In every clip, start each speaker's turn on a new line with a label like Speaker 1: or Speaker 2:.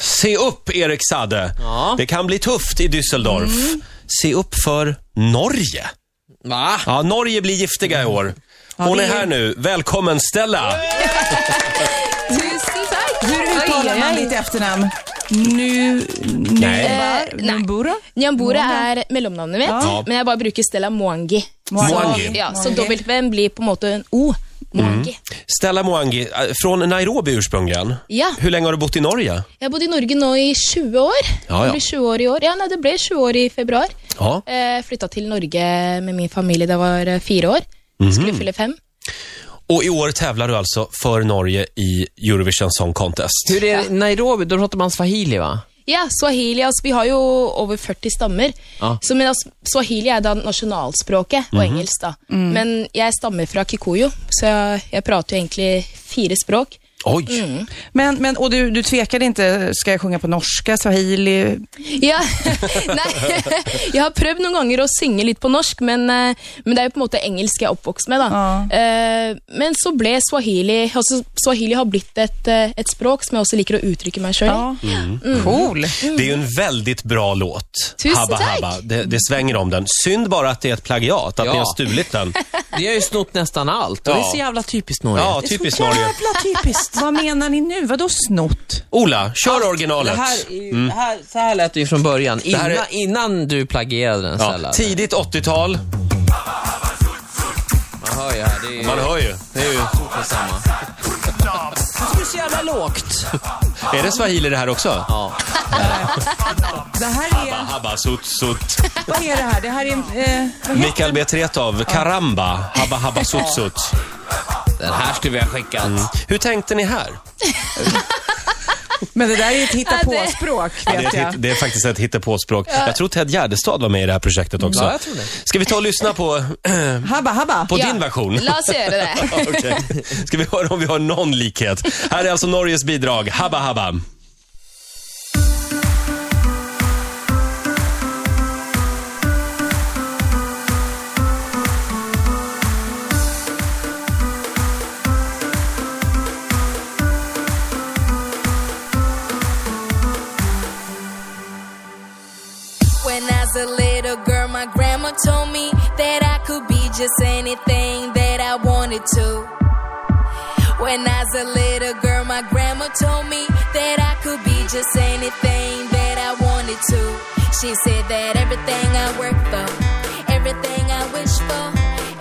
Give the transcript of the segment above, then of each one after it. Speaker 1: Se upp, Erik Sade.
Speaker 2: Ja. Mm.
Speaker 1: Det kan bli tufft i Düsseldorf. Se upp för Norge.
Speaker 2: Va?
Speaker 1: Ja, Norge blir giftiga i år. Hon
Speaker 3: det
Speaker 1: är
Speaker 3: är-
Speaker 1: här nu. Välkommen Stella!
Speaker 3: Tusen tack! Hur
Speaker 4: Oj,
Speaker 3: uttalar
Speaker 4: oj,
Speaker 3: man
Speaker 4: oj. Eh,
Speaker 3: ditt efternamn? Nu...
Speaker 1: Nej.
Speaker 4: nej.
Speaker 3: Numbura?
Speaker 4: Njambura
Speaker 3: Många.
Speaker 4: er mellomnavnet mitt,
Speaker 1: Ja.
Speaker 4: men jeg bare bruker Stella Mwangi.
Speaker 1: Mwangi.
Speaker 4: Ja, så W-en blir på en måte en O. Mwangi.
Speaker 1: Mm. Stella Mwangi, eh, från Nairobi ursprungligen.
Speaker 4: Ja.
Speaker 1: Hur länge har du bott i Norge?
Speaker 4: Jeg har bodd i Norge nå i 20 år.
Speaker 1: Ja, ja.
Speaker 4: Det blir 20 år i år. Ja, nei, det ble 20 år i februar.
Speaker 1: Ja.
Speaker 4: Eh, Flytta til Norge med min familie da jeg var eh, fire år. Skulle
Speaker 1: Mhm.
Speaker 4: fylle fem.
Speaker 1: Och i år tävlar du alltså för Norge i Eurovision Song Contest.
Speaker 2: Hur är det? Nairobi, då pratar man swahili va?
Speaker 4: Ja, swahili. Altså, vi har jo over 40 stammer.
Speaker 2: Ja.
Speaker 4: Så, men altså, swahili er da nasjonalspråket,
Speaker 1: Mhm.
Speaker 4: og engelsk, da. Men jeg stammer fra Kikuyu, så jeg, jeg prater jo egentlig fire språk.
Speaker 1: Oj!
Speaker 3: Men, men, och du, du tvekade inte, ska jag sjunga på norska, swahili?
Speaker 4: Ja, nei, jeg har prøvd noen ganger å synge litt på norsk, men, eh, men det er jo på en måte engelsk jeg er oppvokst med. Da.
Speaker 3: Ja.
Speaker 4: Eh, Men så ble swahili altså Swahili har blitt et, eh, et språk som jeg også liker å uttrykke meg sjøl i.
Speaker 3: Ja. Cool.
Speaker 5: Mm.
Speaker 1: Det är ju en väldigt bra låt.
Speaker 4: Tusen
Speaker 1: habba,
Speaker 4: tack.
Speaker 1: Habba. Det, det svänger om den. Synd bara att det är ett plagiat, att
Speaker 2: Ja.
Speaker 1: ni har stulit den.
Speaker 2: Ni har ju snott nästan allt och
Speaker 1: Ja.
Speaker 2: det är så jävla typiskt Norge.
Speaker 1: Ja, typiskt Norge.
Speaker 3: Jävla typiskt. Vad menar ni nu? Vadå snott?
Speaker 1: Ola, kör originalet.
Speaker 2: Det här, är ju-
Speaker 5: Mm.
Speaker 2: det här, så här lät det ju från början,
Speaker 1: Det här
Speaker 2: innan,
Speaker 1: är-
Speaker 2: innan du plagierade den
Speaker 1: Ja,
Speaker 2: Stella.
Speaker 1: tidigt 80-tal.
Speaker 2: Man hör ju här, det är ju,
Speaker 1: Man hör ju.
Speaker 2: det är ju samma. Det är så jävla lågt.
Speaker 1: Är det swahili det här också?
Speaker 2: Ja.
Speaker 3: Det här är...
Speaker 1: Habba, sut, sut.
Speaker 3: Vad är det här? Det här är... Eh, vad heter-
Speaker 1: Mikael B. Tretow, Karamba, Habba Habba Sut Sut. Mm.
Speaker 2: Den här skulle vi ha skickat.
Speaker 1: Hur tänkte ni här?
Speaker 3: men det där är ett
Speaker 4: Ja, det-
Speaker 3: hitta-på-språk,
Speaker 1: Det är,
Speaker 3: vet
Speaker 1: ett,
Speaker 3: jag.
Speaker 1: hit- det är faktiskt ett hittepåspråk. Jag tror Ted Gärdestad var med i det här projektet också.
Speaker 2: Ja, jag tror det.
Speaker 1: Ska vi ta och lyssna på,
Speaker 3: Habba, habba.
Speaker 1: på
Speaker 4: Ja,
Speaker 1: din version?
Speaker 4: La oss gjøre det.
Speaker 1: Okej. Ska vi höra om vi har någon likhet? Här är alltså Norges bidrag, Habba Habba.
Speaker 6: When I was a little girl, my grandma told me that I could be just anything that I wanted to. When I was a little girl, my grandma told me that I could be just anything that I wanted to. She said that everything I work for, everything I wish for,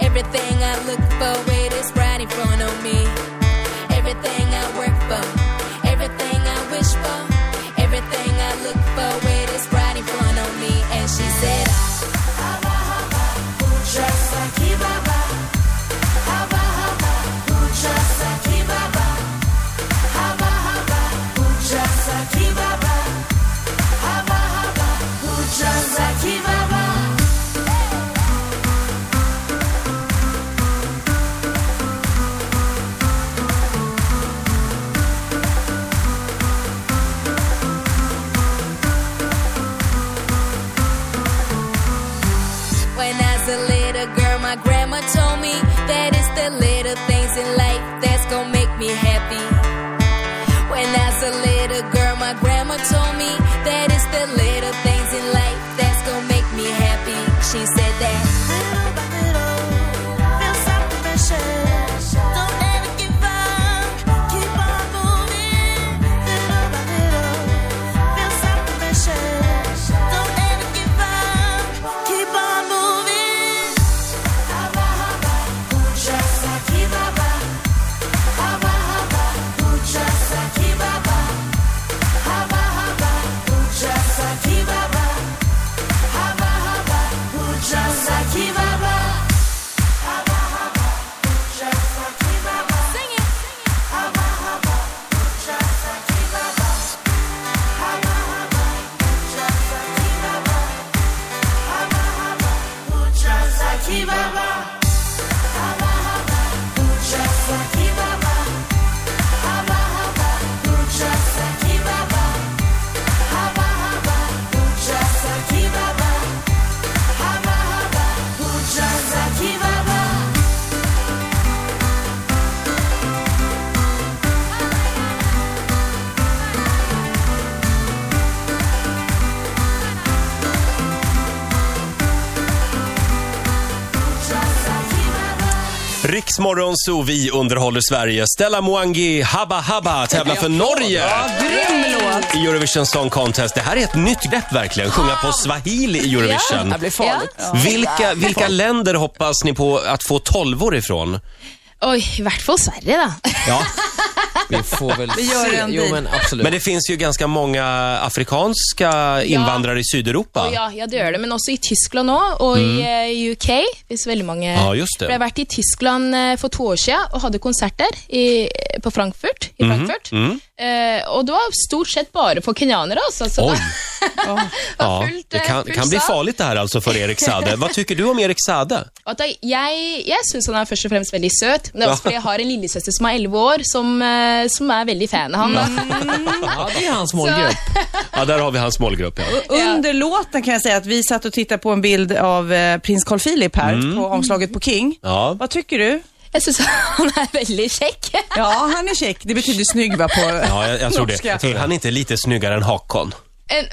Speaker 6: everything I look for, it is right in front of me. Everything I work for, everything I wish for, everything I look for, it is right in front of me. And she said, Trust Baba. Haba haba, ucha saki baba. Haba haba, ucha saki baba. Haba haba, ucha saki baba.
Speaker 1: Riksmorgon så vi underhåller Sverige. Stella Mwangi Habba Habba tävlar för Norge
Speaker 3: Grym låt!
Speaker 1: i Eurovision Song Contest. Det här är ett nytt grepp verkligen, sjunga på swahili i Eurovision.
Speaker 5: Det blir farligt.
Speaker 1: Vilka, vilka länder hoppas ni på att få tolvor ifrån?
Speaker 4: Oj, i hvert fall Sverige, da.
Speaker 1: Ja.
Speaker 5: Vi får väl
Speaker 3: Vi gör
Speaker 5: se.
Speaker 3: en
Speaker 5: Jo,
Speaker 3: deal.
Speaker 5: men absolut.
Speaker 1: Men det finns ju ganska många afrikanska invandrare i Sydeuropa.
Speaker 4: Ja, ja, det gjør det. Men også i Tyskland òg, og i eh, UK. Hvis veldig mange
Speaker 1: Mm. Ja, just det.
Speaker 4: For Jeg har vært i Tyskland eh, for to år siden og hadde konsert der, i, på Frankfurt.
Speaker 1: Mhm,
Speaker 4: I Frankfurt. Eh, og det var stort sett bare for kenyanere, altså. Så
Speaker 1: Oj.
Speaker 4: det var
Speaker 1: Ja,
Speaker 4: fullt,
Speaker 1: det
Speaker 4: eh,
Speaker 1: kan,
Speaker 4: fullt
Speaker 1: kan bli
Speaker 4: sal.
Speaker 1: farligt det här alltså för Erik Sade. Vad tycker du om Erik Sade?
Speaker 4: Og At jeg jeg syns han er først og fremst veldig søt. Men det er
Speaker 1: Ja.
Speaker 4: også fordi jeg har en lillesøster som er 11 år, som, eh, som er veldig fan av han. da.
Speaker 5: Ja, det är hans målgrupp.
Speaker 1: Ja, där har vi hans målgrupp. Ja.
Speaker 3: Under låten kan jag säga att vi satt och tittade på en bild av eh, prins Carl Philip här på omslaget på King.
Speaker 1: Mm. Ja.
Speaker 3: Vad tycker du?
Speaker 4: Jeg syns han er veldig kjekk.
Speaker 3: Ja, han är check. Det betyder snygg va, på
Speaker 1: Ja, jag, jag, tror det.
Speaker 3: norska.
Speaker 1: jag tror det. Han är inte lite snyggare än Hakon.
Speaker 4: En,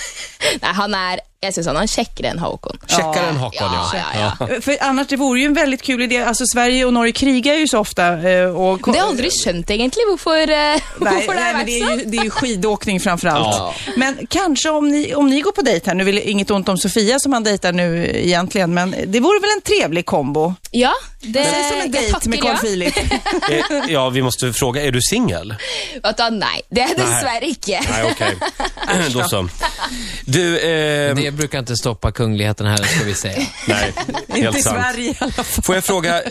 Speaker 4: nei, han er Jeg syns han er kjekkere enn Håkon.
Speaker 1: Checkare än Hakon, ja.
Speaker 4: Ja, ja, ja.
Speaker 3: För annars, det vore ju en väldigt kul idé. Alltså Sverige och Norge krigar ju så ofta. eh, Och
Speaker 4: Det har jeg aldri skjønt, egentlig, hvorfor, eh,
Speaker 3: Nej,
Speaker 4: hvorfor det
Speaker 3: nej,
Speaker 4: har
Speaker 3: men
Speaker 4: vært
Speaker 3: det, är
Speaker 4: sånn.
Speaker 3: ju, det är ju skidåkning framför allt.
Speaker 1: Ja.
Speaker 3: Men kanske om ni, om ni går på dejt här, nu vill jag inget ont om Sofia som han dejtar nu egentligen, men det vore väl en trevlig kombo?
Speaker 4: Ja, det,
Speaker 3: Eh, Det är som en
Speaker 4: jeg
Speaker 3: dejt
Speaker 4: takker
Speaker 3: med Carl
Speaker 4: ja.
Speaker 3: Philip.
Speaker 1: Eh, Ja, vi måste fråga, är du singel?
Speaker 4: Vet du hva, nei, det er jeg dessverre ikke.
Speaker 1: Nej, okej. Då så. Du, eh,
Speaker 5: Det brukar inte stoppa kungligheten här, ska vi säga.
Speaker 1: nej,
Speaker 3: Inte i
Speaker 1: helt sant.
Speaker 3: Sverige i alla fall.
Speaker 1: Får jag fråga, eh,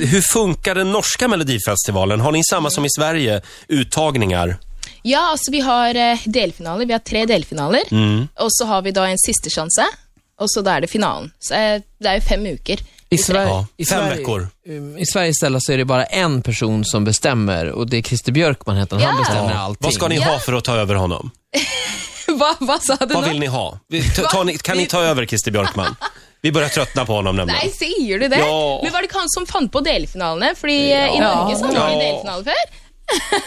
Speaker 1: hur funkar den norska melodifestivalen? Har ni samma som i Sverige, uttagningar?
Speaker 4: Ja, altså vi har eh, delfinaler. Vi har tre delfinaler.
Speaker 1: Mm.
Speaker 4: Og så har vi da en siste sjanse, og så da er det finalen. Så eh, det er jo fem uker.
Speaker 5: I Sverige,
Speaker 1: Ja,
Speaker 5: i
Speaker 1: fem
Speaker 5: Sverige,
Speaker 1: veckor.
Speaker 5: um, I Sverige istället så är det bara en person som bestämmer och det är Christer Björkman heter han. Han bestämmer allting.
Speaker 1: Vad ska ni ha för att ta över honom?
Speaker 4: Hva, hva sa du
Speaker 1: Vad
Speaker 4: nå?
Speaker 1: vill ni ha? Vi- ta- ta- ni- Kan ni ta över Christer Björkman? Vi börjar tröttna på honom nämligen.
Speaker 4: Nei, sier du det?
Speaker 1: Ja.
Speaker 4: Men var det ikke han som fant på delfinalene? Fordi eh, i Norge så var det delfinaler før.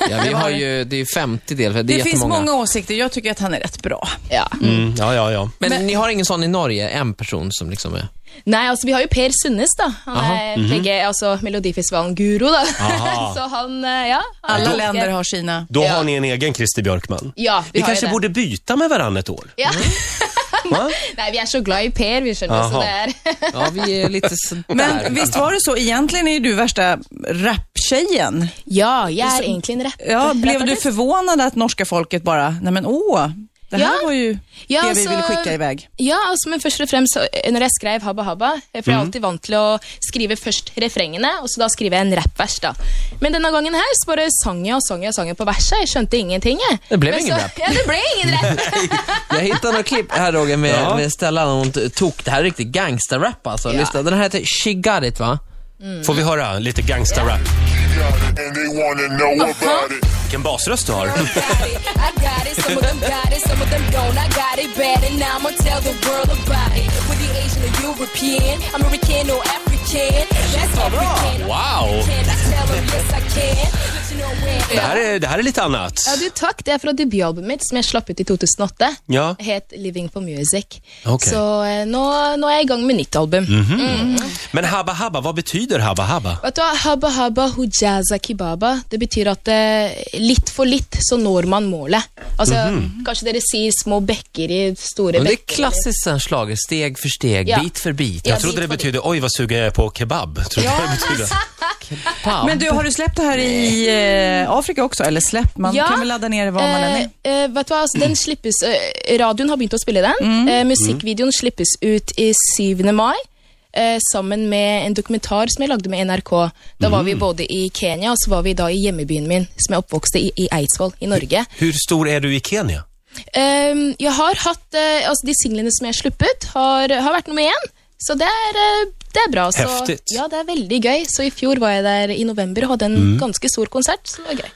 Speaker 5: Ja, vi har ju, det är ju 50 del, det är
Speaker 3: Det finns
Speaker 5: jättemånga.
Speaker 3: många åsikter. Jag tycker att han är rätt bra.
Speaker 4: Ja.
Speaker 1: Mm, ja, ja, ja.
Speaker 5: Men, ni har ingen sån i Norge, en person som liksom är...
Speaker 4: Nei, altså vi har jo Per Sundnes, da. Han er begge, altså Melodifestivalen-guro, da.
Speaker 1: Aha.
Speaker 4: så han, eh, ja. han
Speaker 3: Alla
Speaker 4: er-
Speaker 3: länder har sina.
Speaker 1: Då har ni en egen Christer Björkman.
Speaker 4: Ja, vi,
Speaker 1: Vi
Speaker 4: har jo
Speaker 1: kanske
Speaker 4: det.
Speaker 1: borde byta med varandra ett år.
Speaker 4: Ja.
Speaker 1: Va?
Speaker 4: Nei, vi er så glad i Per, vi skjønner, så
Speaker 1: Aha.
Speaker 4: det er
Speaker 5: Ja, vi är lite sådär.
Speaker 3: Men visst var det så, egentligen är ju du värsta rapptjejen.
Speaker 4: Ja, jeg er egentlig en rapper.
Speaker 3: Ja, blev
Speaker 4: rapper.
Speaker 3: du förvånad att norska folket bara, nej men åh, det här
Speaker 4: Ja.
Speaker 3: var ju
Speaker 4: Ja,
Speaker 3: det vi
Speaker 4: så-
Speaker 3: ville skicka iväg.
Speaker 4: Ja, altså, men først og fremst, så, eh, når jeg skrev Habba Habba, eh, for jeg er alltid vant til å skrive først refrengene, og så da skriver jeg en rappvers, da. Men denne gangen her så bare sang jeg og sang jeg og sang jeg på verset, jeg skjønte ingenting, jeg.
Speaker 5: Det ble
Speaker 4: Men
Speaker 5: ingen
Speaker 4: så-
Speaker 5: rap.
Speaker 4: Ja, det ble ingen rapp.
Speaker 5: Jag hittade några klipp här Roger med,
Speaker 1: Ja.
Speaker 5: med Stellan och hon t- tog, det här är riktigt gangsterrap alltså. Lyssna, den här heter She Got It va?
Speaker 1: Får vi höra lite gangsta-rap?
Speaker 2: And they wanna know about it.
Speaker 1: Vilken basröst du har.
Speaker 6: got it. I got it. Some of them got it, some of them don't. I got it bad, and now I'ma tell the world about it. With the Asian or European, American or African, that's African.
Speaker 1: Wow!
Speaker 6: Can I tell them yes I can? Let you know when.
Speaker 1: Det här är, det här är lite annat.
Speaker 4: Ja, du, takk. Det er fra debutalbumet mitt, som jeg slapp ut i 2008.
Speaker 1: Ja.
Speaker 4: Het Living for Music.
Speaker 1: Ok.
Speaker 4: Så eh, nå, nå er jeg i gang med nytt album.
Speaker 1: Mm. Men Habba Habba, vad betyder Habba Habba?
Speaker 4: Vet du hva, Habba habba hujaza kibaba, det betyr at eh, litt for litt så når man målet. Altså, Kanskje dere sier små bekker i store
Speaker 5: Men det är
Speaker 4: bekker.
Speaker 5: klassiskt sån schlager, steg för steg,
Speaker 4: Ja.
Speaker 5: bit för bit.
Speaker 4: Ja.
Speaker 1: Jag trodde det betydde, oj vad sugen jag är på kebab. Trodde jag det betydde.
Speaker 5: Pam.
Speaker 3: Men du, har du släppt det här i eh, Afrika också? Eller släppt, man
Speaker 4: Ja.
Speaker 3: kan väl ladda ner det var man än är.
Speaker 4: Eh, eh, vet du hva, altså, den slippes, eh, radioen har begynt å spille den.
Speaker 3: Mm.
Speaker 4: Eh, musikkvideoen slippes ut i 7. mai. Eh, sammen med en dokumentar som jeg lagde med NRK. Da var vi både i Kenya og så var vi da i hjemmebyen min, som jeg oppvokste i, i Eidsvoll i Norge.
Speaker 1: Hur stor är du i Kenya?
Speaker 4: Ehm, jeg har hatt eh, altså De singlene som jeg har sluppet, har, har vært nummer én. Så det er, eh, det er bra. Så,
Speaker 1: Heftig.
Speaker 4: Ja, det er veldig gøy. Så i fjor var jeg der i november og hadde en ganske stor konsert. Så det var gøy.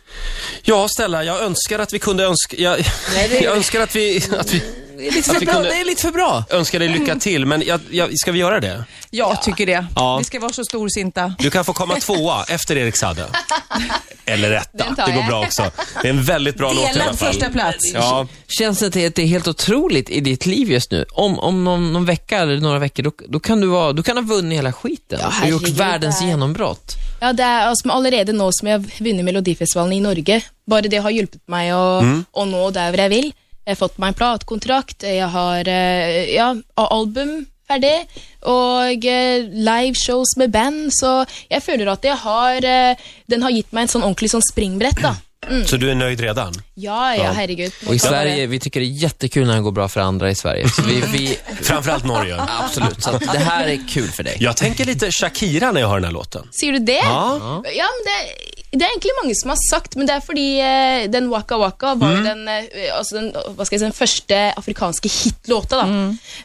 Speaker 1: Ja, Stella, jag önskar att vi kunde önska... Jag, jag önskar att vi, att vi...
Speaker 3: det är lite för
Speaker 1: Att vi
Speaker 3: bra.
Speaker 1: kunde-
Speaker 5: Det är lite för bra.
Speaker 1: Önskar dig lycka till, men jag, jag, ska vi göra det?
Speaker 3: Jag tycker det.
Speaker 1: Ja.
Speaker 3: Det ska vara så storsinta.
Speaker 1: Du kan få komma tvåa efter Erik Saade. Eller etta,
Speaker 4: Den tar
Speaker 1: det går
Speaker 4: jag.
Speaker 1: bra också. Det är en väldigt bra låt i alla
Speaker 3: Delad
Speaker 1: fall.
Speaker 3: första plats.
Speaker 1: Ja,
Speaker 5: Känns det att det är helt otroligt i ditt liv just nu? Om, om någon, någon vecka eller några veckor, då, då kan du, vara, du kan ha vunnit hela
Speaker 4: Ja,
Speaker 5: skiten. du har gjort
Speaker 4: herregud.
Speaker 5: världens genombrott.
Speaker 4: Ja, det er altså, allerede nå som jeg har vunnet Melodifestivalen i Norge. Bare det har hjulpet meg å, å nå der hvor jeg vil. Jeg har fått meg en platekontrakt, jeg har eh, ja, a- album ferdig, og eh, liveshows med band, så jeg føler at jeg har eh, Den har gitt meg en sånn ordentlig sånn springbrett, da.
Speaker 1: så du är nöjd redan?
Speaker 4: Ja, ja, herregud.
Speaker 5: Och i Sverige, vi tycker det är jättekul när det går bra för andra i Sverige. Så vi, vi,
Speaker 1: Framförallt Norge.
Speaker 5: absolut, så att det här är kul för dig.
Speaker 1: Jag tänker lite Shakira när jag hör den här låten.
Speaker 4: Sier du det?
Speaker 1: Ja.
Speaker 4: Ja, men det, det er egentlig mange som har sagt, men det er fordi eh, den Waka Waka var jo den, eh, altså den, hva skal jeg si, den første afrikanske hitlåta. da.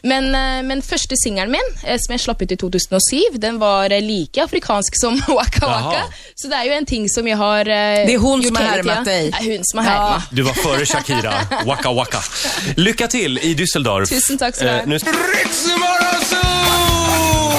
Speaker 4: Men, eh, men første singelen min, eh, som jeg slapp ut i 2007, den var eh, like afrikansk som Waka Waka.
Speaker 1: Jaha.
Speaker 4: Så det er jo en ting som jeg har eh,
Speaker 3: Det er hun som har
Speaker 4: hele
Speaker 3: hermet
Speaker 4: tiden. Det
Speaker 3: deg.
Speaker 4: er hun som har hermet meg.
Speaker 1: Du var före Shakira. Waka waka. Lycka till i Düsseldorf. Eh,
Speaker 4: Tusen tack så mycket.
Speaker 1: nu... Ritzmorgonzoo!